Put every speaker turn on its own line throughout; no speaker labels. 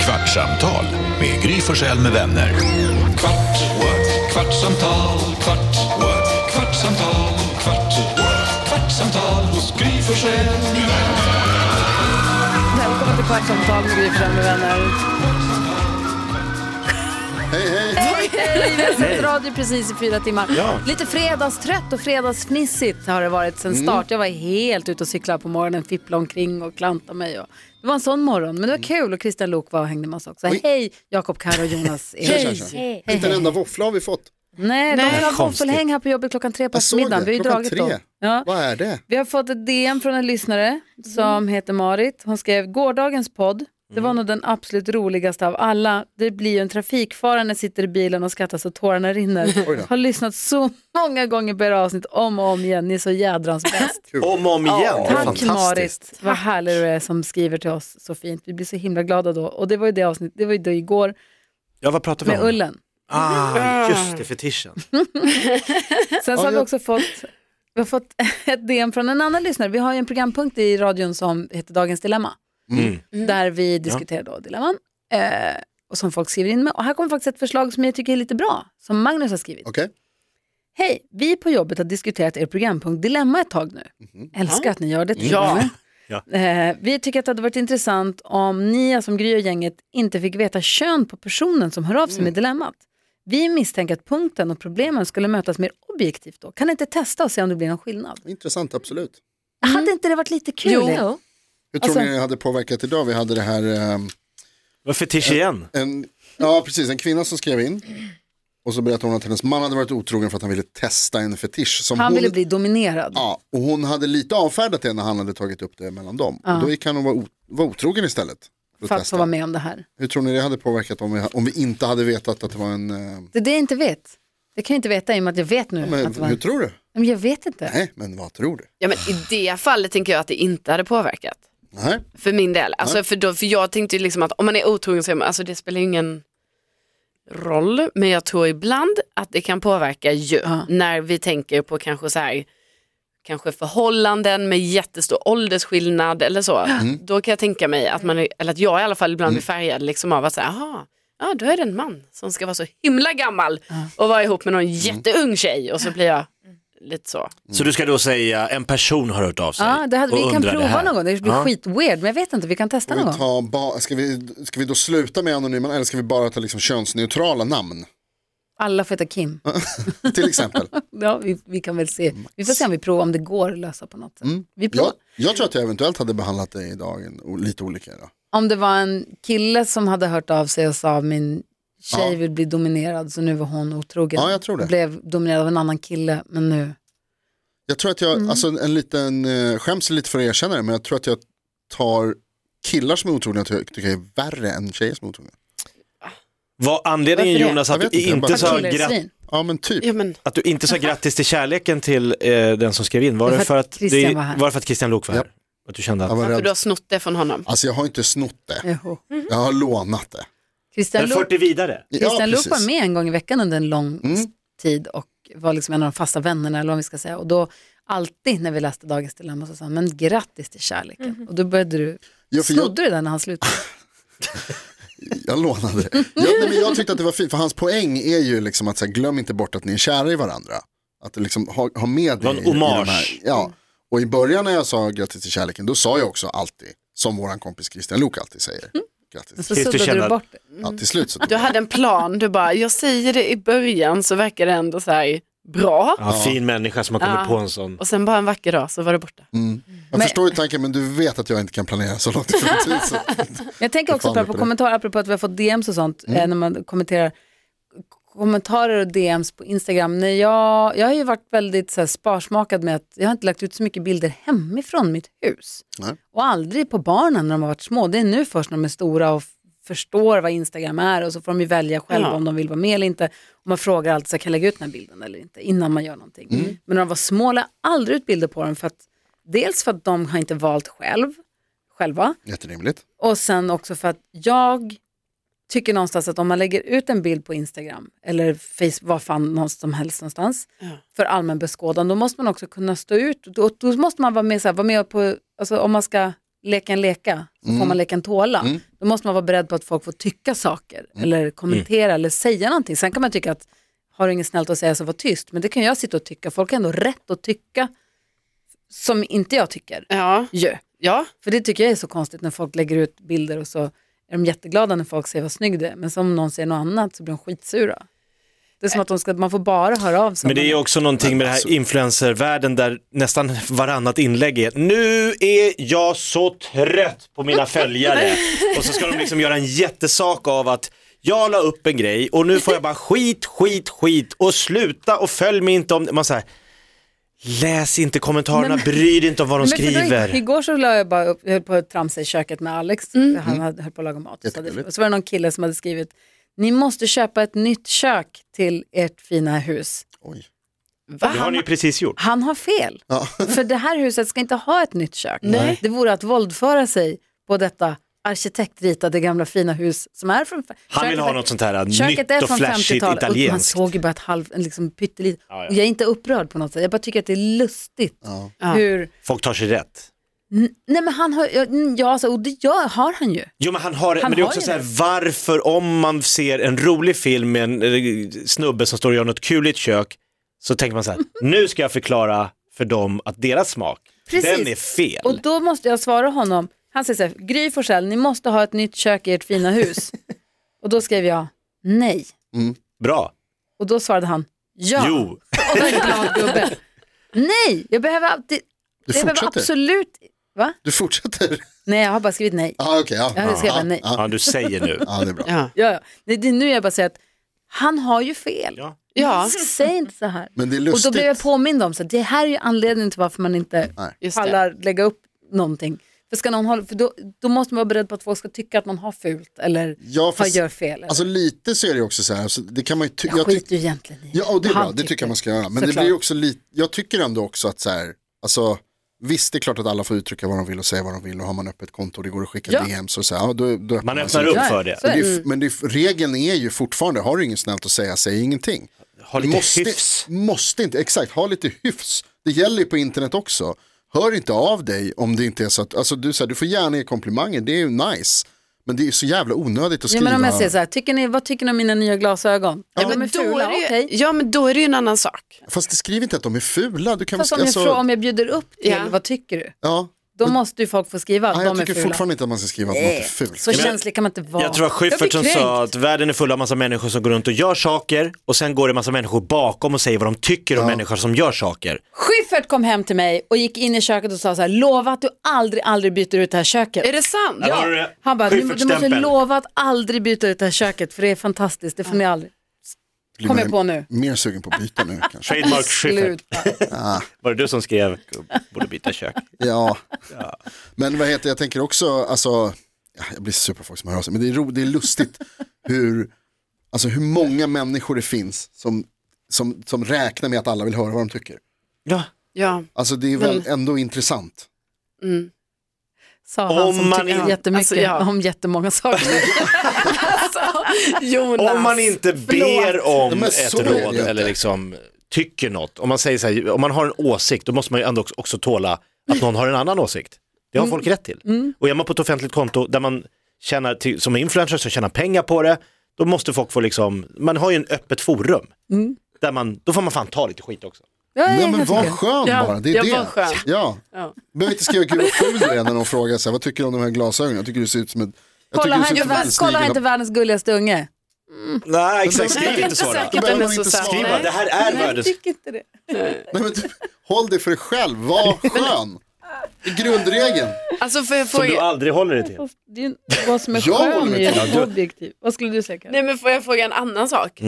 Kvartsamtal med Gry Forssell med vänner. Kvart, what? kvartsamtal, kvart, what? kvartsamtal, kvart, what? kvartsamtal hos Gry Forssell med vänner.
Välkommen till Kvartsamtal med Gry Forssell med vänner. Hej, hej! Vi har sänt radio precis i fyra timmar. Lite fredagstrött och fredagsfnissigt har det varit
Mm.
sen start. Jag var helt ute och cyklade på morgonen, fipplade omkring och klantade mig. Och det var en sån morgon, men det var
Mm.
kul och Christian Lok var och hängde med oss också. Hej Jakob, Karo och Jonas.
Tja, tja, tja. Inte en enda våffla har vi fått.
Nej, de vill ha våffelhäng här på jobbet klockan tre på
Jag såg
eftermiddagen.
det.
Alltså, Vi har ju
Klockan
dragit
tre.
dem. Ja.
Vad är det?
Vi har fått ett DM från en lyssnare som
Mhm.
heter Marit. Hon skrev gårdagens podd. Det
Mm.
var nog den absolut roligaste av alla. Det blir ju en trafikfara när jag sitter i bilen och skrattar så tårarna
Oj
rinner.
då.
Har lyssnat så många gånger på era avsnitt om och om igen. Ni är så jädrans bäst.
Om och om igen.
Tack
fantastiskt.
Marit, vad härlig du är som skriver till oss så fint. Vi blir så himla glada då. Och det var ju det avsnitt, det var ju då igår
Ja, vad pratar vi
med
om?
Ullen.
Ah, just det, fetischen.
Sen så har vi
jag-
också fått, vi har fått ett DM från en annan lyssnare. Vi har ju en programpunkt i radion som heter Dagens Dilemma. Där vi diskuterar då dilemman eh, och som folk skriver in med. Och här kommer faktiskt ett förslag som jag tycker är lite bra, som Magnus har skrivit.
Okej.
Hej, vi på jobbet har diskuterat er programpunkt Dilemma ett tag nu.
Mhm.
Älskar att ni gör det. Ja.
Ja.
Eh, vi tycker att det hade varit intressant om ni alltså, som Gry och gänget inte fick veta kön på personen som hör av sig
Mm.
med dilemmat. Vi misstänker att punkten och problemen skulle mötas mer objektivt då. Kan ni inte testa och se om det blir någon skillnad?
Intressant, absolut.
Mm.
Hade inte det varit lite kul?
Jo.
Hur tror
Alltså-
ni det hade påverkat idag? Vi hade det här, ehm,
Det var fetisch igen.
en, ja precis, en kvinna som skrev in. Och så berättade hon att hennes man hade varit otrogen för att han ville testa en fetisch. Som
Han
hon,
ville bli dominerad.
Ja, och hon hade lite avfärdat det när han hade tagit upp det mellan dem. Och Då gick han och var, o, var otrogen istället. För
för att
att
få
testa.
vara med om det här.
Hur tror ni det hade påverkat om vi, om vi inte hade vetat att det var en... eh,
Det är det jag inte vet. Det kan jag inte veta i och med att jag vet nu. att det
men,
var...
hur tror du?
Men jag vet inte.
Nej, men vad tror du?
Ja, men I det fallet tänker jag att det inte hade påverkat.
Nej,
För min del. Alltså, för, då, för jag tänkte ju liksom att om man är otrogen så är man, alltså, det spelar ju ingen roll. Men jag tror ibland att det kan påverka ju. När vi tänker på kanske så här kanske förhållanden med jättestor åldersskillnad eller så. Mm. Då kan jag tänka mig att man, är- eller att jag i alla fall ibland blir färgad liksom av att säga, aha, ja då är det en man som ska vara så himla gammal och vara ihop med någon jätteung tjej och så blir jag lite så.
Så du ska då säga en person har hört av sig
Ja, det hade,
och
vi kan
undrar det
prova
här.
någon gång, det blir
Ja.
skitweird, men jag vet inte, vi kan testa
Ska
någon
vi,
gång.
ta ba- ska, vi, ska vi då sluta med anonyma eller ska vi bara ta liksom könsneutrala namn?
Alla får heta Kim.
Till exempel.
Ja, vi, vi kan väl se, vi får se om vi provar, om det går att lösa på något sätt. Vi provar.
jag, jag tror att jag eventuellt hade behandlat dig idag en, o- lite olika. Då.
Om det var en kille som hade hört av sig och sa min tjej
Ja.
vill bli dominerad så nu var hon otrogen.
Ja, jag tror det.
Och blev dominerad av en annan kille, men nu.
Jag tror att jag, alltså en, en liten, eh, skäms lite för att erkänna det, men jag tror att jag tar killar som är otrogna ty- tycker jag är värre än tjejer som är otrogna.
Var anledningen
Varför det?
Jonas
Jag
att du,
vet inte, jag
inte
bara-
sa
Killar är
gratt-
svin.
Ja men typ.
Ja, men,
att du inte sa grattis till kärleken till eh, den som skrev in? Var det för att,
Christian
det,
var här.
var det för att Christian Lok var här? Att du kände att,
Jag var
för du har
rädd.
snott det från honom.
Alltså jag har inte snott det,
Jo.
jag har lånat det.
Christian
eller
Luuk
fört det vidare?
Christian Luuk
precis. Mm.
var med en gång i veckan under en lång s- tid och var liksom en av de fasta vännerna eller vad vi ska säga. Och då alltid när vi läste Dagens Dilemma så sa han, men grattis till kärleken.
Mhm.
Och då började du,
Ja, för jag-
snodde du den när han slutade?
Jag lånade det. Jag, nej, men jag tyckte att det var fint, för hans poäng är ju liksom att så här, glöm inte bort att ni är kära i varandra. Att du liksom ha, ha med
var
det
en
i, i de
hommage.
här. Ja. Och i början när jag sa grattis till kärleken, då sa jag också alltid, som våran kompis Christian Luuk alltid säger,
Mm.
grattis.
Så
Tills
suddade
du
du
känner-
bort det.
Ja, till slut så
Du hade en plan, du bara, jag säger det i början så verkar det ändå så här bra.
Ja, Fin människa som har kommit på en sån.
Och sen bara en vacker dag så var det borta.
jag förstår ju tanken, men du vet att jag inte kan planera så långt i framtiden. så-
Jag tänker också
fan
på,
mig
på
på det. Mm.
kommentarer, apropå att vi har fått DMs och sånt, eh, när man kommenterar kommentarer och DMs på Instagram. När jag, jag har ju varit väldigt så här, sparsmakad med att jag har inte lagt ut så mycket bilder hemifrån mitt hus.
Nej.
Och aldrig på barnen när de har varit små. Det är nu först när de är stora och f- förstår vad Instagram är och så får de ju välja själva
Ja.
om de vill vara med eller inte. Och man frågar alltid, så här, kan jag lägga ut den här bilden eller inte innan man gör någonting.
Mm.
Men när de var små la jag aldrig ut bilder på dem för att dels för att de har inte valt själv, själva.
Jätterimligt.
Och sen också för att jag tycker någonstans att om man lägger ut en bild på Instagram eller Facebook, vad fan någonstans som helst någonstans, för allmän beskådan, då måste man också kunna stå ut. Då, då måste man vara med, så här, vara med på, alltså, om man ska leka en leka, så får man leka en tåla. Då då måste man vara beredd på att folk får tycka saker eller kommentera eller säga någonting. Sen kan man tycka att har du inget snällt att säga så var tyst, men det kan jag sitta och tycka. Folk har ändå rätt att tycka som inte jag tycker.
Ja.
Ju.
Ja.
För det tycker jag är så konstigt när folk lägger ut bilder och så är de jätteglada när folk säger vad snygg du är, men som om någon säger något annat så blir de skitsura. Det är som att de ska, man får bara höra av sig.
Men det är ju också någonting med det
Alltså-
här influencervärlden där nästan varannat inlägg är nu är jag så trött på mina följare och så ska de liksom göra en jättesak av att jag la upp en grej och nu får jag bara skit, skit, skit och sluta och följ mig inte om det. Man säger läs inte kommentarerna, bry dig inte om vad de
Men för då-
skriver.
igår så la jag bara upp, jag höll på att tramsa i köket med Alex, för han hade, höll på att laga mat. Och så, hade,
Jättegulligt.
och så var det någon kille som hade skrivit, ni måste köpa ett nytt kök till ert fina hus.
Oj.
Va?
Det har ni ju precis gjort.
Han har fel,
Ja.
för det här huset ska inte ha ett nytt kök. Det vore att våldföra sig på detta arkitektritade gamla fina hus som är från...
Han vill
köket
ha
är-
något sånt här
Köket är
nytt och
från
flashigt
50-talet och man
italienskt.
såg ju bara ett halvt, en liksom pyttelite.
Ja, ja.
Och jag är inte upprörd på något sätt, jag bara tycker att det är lustigt
Ja.
hur...
Folk tar sig rätt.
Nej men han har, ja, mm, ja alltså, och det gör, har han ju.
Jo men han har,
Han
men det är
har
också
ju
så här,
det.
varför om man ser en rolig film med en eh, snubbe som står och gör något kul i ett kök så tänker man så här, nu ska jag förklara för dem att deras smak,
Precis.
den är fel.
Och då måste jag svara honom, han säger så här, Gry Forssell, ni måste ha ett nytt kök i ert fina hus. och då skrev jag, nej.
Bra,
Och då svarade han, ja.
jo.
Och då är jag glad gubbe. nej, jag behöver, alltid, jag
Du
behöver
fortsätter?
absolut, va?
Du fortsätter?
Nej, jag har bara skrivit nej.
Ja, okej. ja.
Jag hade skrivit
ja,
nej.
Ja,
Ja, du säger nu.
ja, det är bra.
Ja.
Ja, ja. Nej, det är nu jag bara säger att han har ju fel.
Ja.
ja,
Säg inte så här.
Men det är
Och
lustigt.
då blev jag påmind om så att det här är ju anledningen till varför man inte
Nej.
just det.
pallar lägga upp någonting. För, ska någon hålla, för då, då måste man vara beredd på att folk ska tycka att man har fult eller
Ja,
har,
fast-
gör fel. Eller.
Alltså lite så är det ju också så här, alltså, det kan man ju ty-
jag
jag ty-
skiter ju egentligen i
Ja, och det är
vad
bra,
han
det tycker jag man ska göra. Men det blir ju också lite, jag tycker ändå också att så här, alltså visst det är klart att alla får uttrycka vad de vill och säga vad de vill och har man öppet konto och det går att skicka
Ja. Mm.
DMs och så här, ja, då, då
Man
sig.
öppnar upp
Ja,
för det.
så är
Men, Alltså, det är, men det är, regeln är ju fortfarande, har du inget snällt att säga, säg ingenting.
Ha lite hyfs.
Måste inte, exakt, ha lite hyfs. Det gäller ju på internet också. Hör inte av dig om det inte är så att, alltså du, så här, du får gärna ge komplimanger, det är ju nice. Men det är ju så jävla onödigt att
Ja,
skriva.
men om jag säger så här, tycker ni, vad tycker ni om mina nya glasögon? Ja, de är
men då
fula,
är det
okej.
ju, ja men då är det ju en annan sak.
Fast det skriver inte att de är fula. Du kan
Fast
väl
om jag,
alltså,
frå- om jag bjuder upp till,
Ja.
vad tycker du?
ja.
Då måste ju folk få skriva att
Nej, jag
de är
tycker
fula.
fortfarande inte att man ska skriva att något är fult.
Så känslig kan man inte vara.
Jag tror att Schyffert som
blir
sa
kränkt.
att världen är full av massa människor som går runt och gör saker och sen går det en massa människor bakom och säger vad de tycker om människor som gör saker.
Schyffert kom hem till mig och gick in i köket och sa så här, lova att du aldrig, aldrig byter ut det här köket.
Är det sant?
Där har du det.
Han bara, du, du måste
Schyffertstämpel.
lova att aldrig byta ut det här köket för det är fantastiskt, det får ni aldrig.
Blir
kom jag
man
på nu.
Mer sugen på att byta nu kanske.
Trademark Schyffert.
Slut.
Var det du som skrev, borde byta kök?
Ja. Men vad heter jag tänker också, alltså, ja, jag blir sur på folk som hör av sig, men det är, ro, det är lustigt hur, alltså hur många människor det finns som, som, som räknar med att alla vill höra vad de tycker.
Ja.
Ja.
Alltså det är väl ändå intressant.
Sa han
Om
som
man
tycker
inte-
jättemycket
Alltså, ja.
om jättemånga saker.
Jonas.
Om man inte ber
Ja,
om
men
ett
så är det
råd
ju inte.
eller liksom tycker något, om man säger så här, om man har en åsikt, då måste man ju ändå också- också tåla att någon har en annan åsikt. Det har folk rätt till. Och är man på ett offentligt konto där man tjänar, till, som influencer som tjänar pengar på det, då måste folk få liksom, man har ju en öppet forum. Där man, då får man fan ta lite skit också.
Ja,
Nej
jag
men
helt
vad
med.
skön
Ja,
bara, det är
jag
det.
var skön.
Ja.
Ja.
Behöver inte skriva gud vad ful du är när någon frågar så här, vad tycker du om de här glasögonen? Jag tycker du ser ut som en... jag
Kolla,
tycker du
han inte,
ser ut som en
världens- kolla han inte
snigel.
världens gulligaste unge.
Nej exakt,
Nej,
skriv
det är
inte
inte
sådana.
säkert.
Behöver
Den är
man
så
inte
sann.
Skriv
svara.
bara, det här är världens...
tycker inte det.
Nej, men, du- håll dig för dig själv, var skön. Det är grundregeln.
Alltså får jag
Som du
fråga,
aldrig håller dig till.
Fast det är ju vad som är
Jag håller
skön är
med till
ju
det.
objektiv. Vad skulle du säga Karin?
nej, men får jag fråga en annan sak?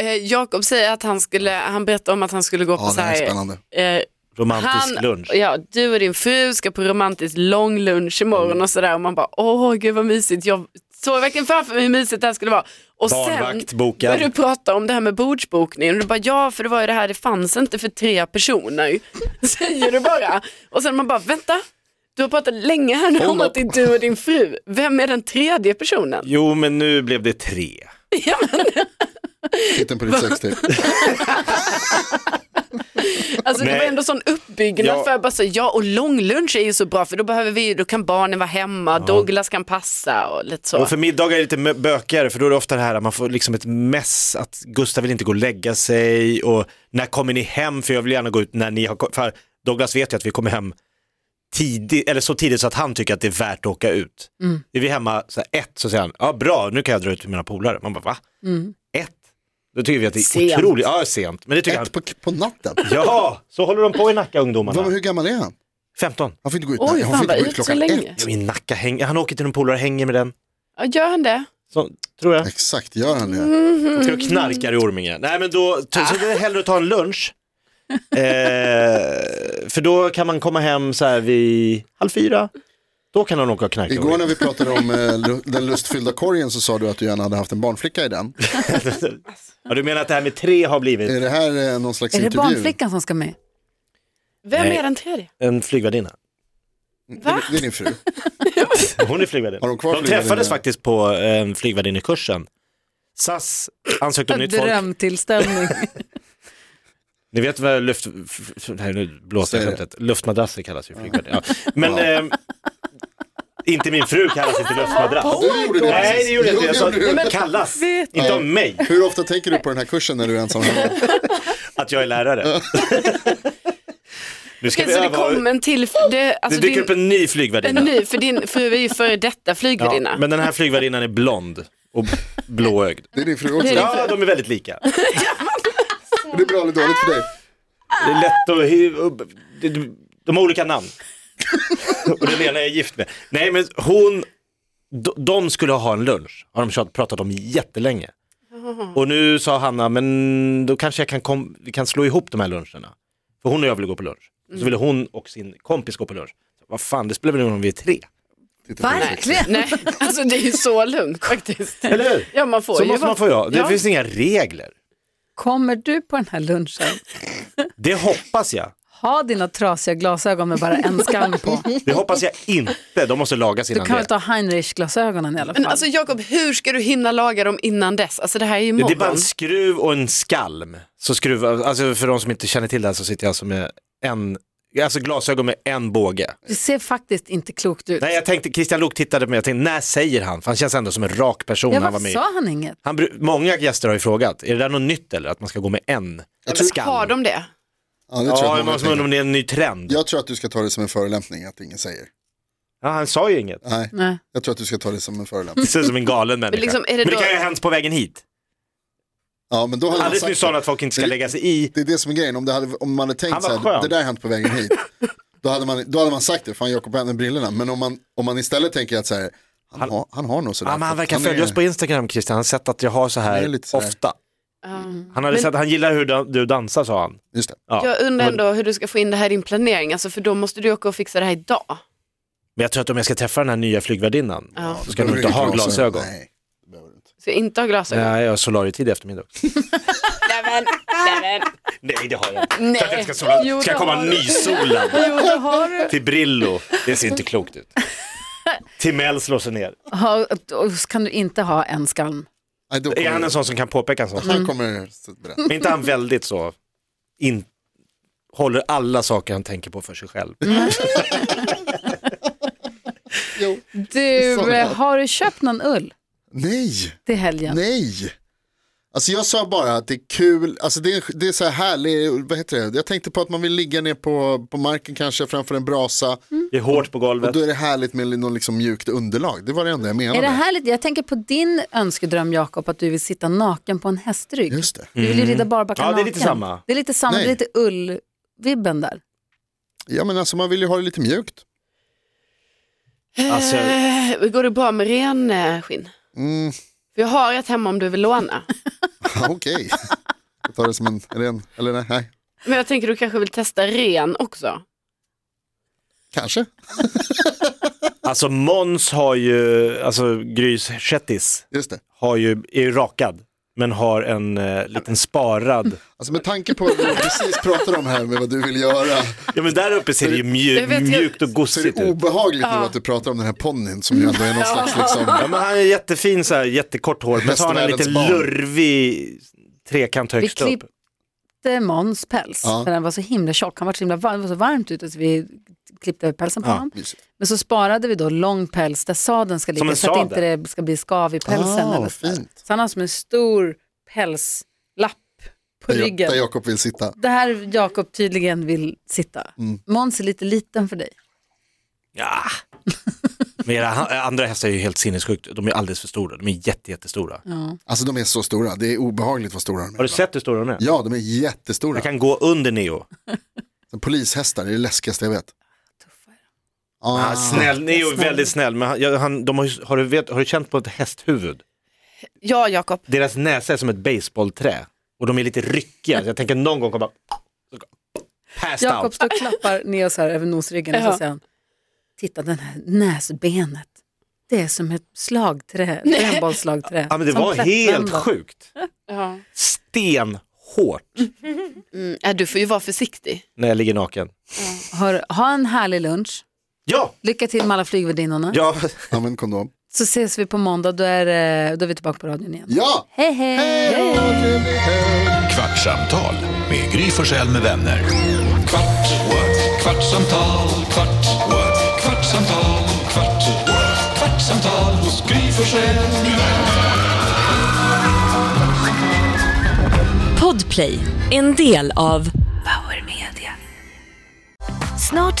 Eh, Jakob säger att han, skulle, han berättade om att han skulle gå på
Ja,
så
det här är
här
spännande.
eh,
Romantisk
han,
lunch.
Ja, du och din fru ska på romantisk lång lunch imorgon
Mm.
och sådär och man bara åh gud vad mysigt. Jag såg verkligen framför mig hur mysigt det här skulle vara. Och
Barnvakt
sen
bokad.
började du prata om det här med bordsbokningen och du bara ja för det var ju det här det fanns inte för tre personer. Säger du bara. Och sen man bara vänta. Du har pratat länge här nu om
Hold
att
up.
det är du och din fru. Vem är den tredje personen?
Jo men nu blev det tre.
Titeln på ditt sextape.
Alltså det
Nej.
var ändå sån uppbyggnad
Ja.
för jag bara så, ja och långlunch är ju så bra för då behöver vi, då kan barnen vara hemma, Douglas kan passa och lite så.
Och för middagar är det lite mö- bökigare för då är det ofta det här att man får liksom ett mess att Gustav vill inte gå och lägga sig och när kommer ni hem för jag vill gärna gå ut när ni har kommit. För Douglas vet ju att vi kommer hem tidigt, eller så tidigt så att han tycker att det är värt att åka ut.
Mm.
Är vi hemma så här, ett så säger han, ja bra nu kan jag dra ut med mina polare. Man bara va?
Mm.
Ett? Då tycker vi att det är
Sent.
otroligt, ja sent. Men det tycker han.
Ett på, på natten.
Ja, så håller de på i Nacka ungdomarna.
Vad, hur gammal är han?
15.
Han får inte gå ut,
Oj,
nej, han
fan,
får inte
vad
gå ut
ut så
klockan
länge.
ett.
Ja, men Nacka hänger, han åker till någon polare och hänger med den.
Ja, gör han det?
Så, tror jag.
Exakt, gör han det?
Jag tror jag knarkar i Orminge. Nej men då, så det är hellre att ta en lunch. eh, för då kan man komma hem så här vid halv fyra. Då kan han åka och knarka. i
Igår
Orminge.
när vi pratade om eh, lu- den lustfyllda korgen så sa du att du gärna hade haft en barnflicka i den.
Ja, du menar att det här med tre har blivit
Är det här eh, någon slags
Är det
intervju?
barnflickan som ska med?
Vem
Nej.
är den tredje?
en flygvärdinna?
Det är- Det är din fru.
Hon är flygvärdinna.
Har de kvar flygvärdinna?
träffades faktiskt på en flygvärdinnekursen. SAS ansökte om nytt folk.
Drömtillställning.
Ni vet vad luft... f- f- Nej, nu blåser jag
Säg det.
skämtet. Luftmadrasser kallas ju flygvärdinna. Ja. Men ehm, inte min fru kallas inte luftmadrass.
Du gjorde det.
Nej, det gjorde jag inte. Jag sa
Jo, det gjorde du.
kallas, inte om mig,
Hur ofta tänker du på den här kursen när du är ensam hemma?
att jag är lärare. Nu ska
Okej,
vi
så det
öva.
kom en till, det,
Det
alltså
dyker
din,
upp en ny
en
flygvärdinna.
ny, för din fru är ju före detta
Ja,
flygvärdinna.
men den här flygvärdinnan är blond och blåögd.
Det är din fru också.
Ja, de är väldigt lika.
Det är bra eller dåligt för dig?
Det är lätt att... hy- upp- det- De har olika namn. Och den ena är jag gift med. Nej, men hon... d- De skulle ha en lunch, har de tjat- pratat om jättelänge. Och nu sa Hanna, men då kanske jag kan, kom, vi kan slå ihop de här luncherna. För hon och jag ville gå på lunch. Så ville hon och sin kompis gå på lunch. Så, Vad fan, det spelar väl ingen roll om vi är tre?
Titta på dig.
Verkligen.
Nej, alltså det är ju så lugnt faktiskt.
Eller hur?
Ja, man får
Så
ju
måste
vara-
man få göra. Det
Ja.
finns inga regler.
Kommer du på den här lunchen
Det hoppas jag.
ha dina trasiga glasögon med bara en skam på?
Det hoppas jag inte. De måste lagas
Du
innan
kan väl
det.
ta Heinrich-glasögonen i alla fall?
Men alltså Jakob, hur ska du hinna laga dem innan dess? Alltså det här är ju
Det
imorgon.
är bara en skruv och en skalm. Så skruv, alltså för de som inte känner till det här så sitter jag alltså med en, alltså glasögon med en båge.
Det ser faktiskt inte klokt ut.
Nej jag tänkte, Christian Luuk tittade på mig, jag tänkte när säger han? För han känns ändå som en rak person
ja,
när han
varför
var med.
sa han inget?
Han, bru- många gäster har ju frågat, är det där något nytt eller att man ska gå med en
Men
skall?
Har de det?
Ja, det tror jag,
Ja, jag
att många
måste
tänker.
undra om det är en ny trend.
jag tror att du ska ta det som en förolämpning att ingen säger.
Ja, han sa ju inget.
Nej,
Nej.
jag tror att du ska ta det som en förolämpning.
Det ser ut som en galen människa.
liksom, är det
Men det
då-
kan ju ha hänt på vägen hit.
Ja, men då hade man
Alldeles
sagt
nyss sa han
det.
att folk inte ska lägga sig i.
det är det som är grejen, om, det hade, om man hade
Han
tänkt
var
så
skön.
här, det där har hänt på vägen hit, då hade man, då hade man sagt det, fan Jakob har med brillorna, men om man, om man istället tänker att så här, han, har, han har nog sådär.
Ja, men han
fått-
verkar följa
är-
oss på Instagram Christian, han har sett att jag har så
Han är
här
lite så här.
ofta. Han, hade sett, han gillar hur da- du dansar sa han.
Just det.
Ja.
Jag undrar ändå hur du ska få in det här i din planering, alltså, för då måste du åka och fixa det här idag.
Men jag tror att om jag ska träffa den här nya flygvärdinnan,
Ja.
då ska jag nog inte ha glasögon. Nej.
Nej, det behöver du inte.
Så jag inte har glasögon.
jag har solarietid i eftermiddag. också.
Nämen, nämen.
Nej det har jag inte.
Nej.
Klart jag inte ska, sola.
Jo,
ska jag
det
komma
har du.
nysolad
Jo, det har du.
till Brillo. Det ser inte klokt ut. Timell slår sig ner.
Ha, och så kan du inte ha en skalm.
Nej, då
Är
kommer,
han en sån som kan påpeka en sån?
han kommer så berätta.
Men inte han väldigt så, in, håller alla saker han tänker på för sig själv?
Jo.
Du,
Så.
eh, har du köpt någon ull
Nej,
till helgen?
nej. Alltså jag sa bara att det är kul, alltså det är, det är så här härlig, vad heter det, jag tänkte på att man vill ligga ner på, på marken kanske framför en brasa
Det är hårt på
och
golvet.
då är det härligt med någon liksom mjukt underlag, det var det enda jag menade.
Mm. Är det härligt? Jag tänker på din önskedröm Jakob, att du vill sitta naken på en hästrygg.
Just det.
Du vill ju rida barbacka
Mm. Ja, det är
naken.
lite samma.
Det är lite samma, det är
Nej.
lite ull-vibben där.
Ja men alltså man vill ju ha det lite mjukt.
Alltså,
Eh, Går det bra med ren eh, skinn?
Mm,
För jag har ett hemma om du vill låna.
ja, Okej. Jag tar det som en, eller en, eller nej, nej.
Men jag tänker du kanske vill testa ren också?
kanske.
alltså Måns har ju, alltså Grys Chettis,
Just det.
har ju, är ju rakad, men har en eh, liten sparad
Alltså med tanke på vad vi precis pratade om här med vad du vill göra.
Ja men där uppe ser det ju mju-
Jag vet, jag-
mjukt och
Så är
gossigt
det
ut.
obehagligt nu att du pratar om den här ponnyn som ju ändå är någon slags
Ja
liksom.
men han är jättefin så här, jättekort hår, men så har han en
Västvärldens
lite
barn.
lurvig trekant
Vi,
högst
klipp,
upp.
klippte Måns päls,
Ja.
för den var så himla tjock. Han var så himla var- det var så varmt ute så vi klippte pälsen på
Ja,
honom.
mysigt.
Men så sparade vi då lång päls där sadeln ska
Som
ligga
en
så att
sadel.
inte det ska bli skav i pälsen.
Ah,
eller
vad
så där.
fint.
så han har som en stor pälslapp på
Där jag-
ryggen.
Där Jakob vill sitta.
Det här Jakob tydligen vill sitta.
Mm.
Måns är lite liten för dig.
Ja. Men era ha- andra hästar är ju helt sinnessjukt, de är alldeles för stora, de är jätte, jättestora.
Alltså de är så stora, det är obehagligt vad stora de är.
Har du sett hur stora de är?
Ja, de är jättestora.
Jag kan gå under Neo.
Polishästar, det är det läskigaste jag vet.
Ah,
Ah,
snäll, Neo är väldigt snäll, men han, ja, han, de har, ju- har, du vet, har du känt på ett hästhuvud?
Ja, Jakob.
Deras näsa är som ett baseballträ och de är lite ryckiga, så jag tänker någon gång kommer Passed
Jakob
out.
står och klappar ner så här över nosryggen och
Ja.
så säger han, titta den här näsbenet. Det är som ett slagträ, ett brännbollsslagträ.
Ja, men det
Som
var helt
tvättbrännboll.
sjukt.
Ja.
Stenhårt
Mm, ja, du får ju vara försiktig.
när jag ligger naken.
Hör, ha en härlig lunch.
Ja,
Lycka till med alla flygvärdinnorna.
ja.
Använd kondom.
Så ses vi på måndag, då är, det- då är vi tillbaka på radion igen.
Ja!
Hej hej!
Kvartsamtal med Gry Forssell med vänner. Kvart, what? kvartsamtal, kvart, what? kvartsamtal, kvart, what? kvartsamtal hos Gry Forssell med vänner.
Podplay, en del av Power Media.
Snart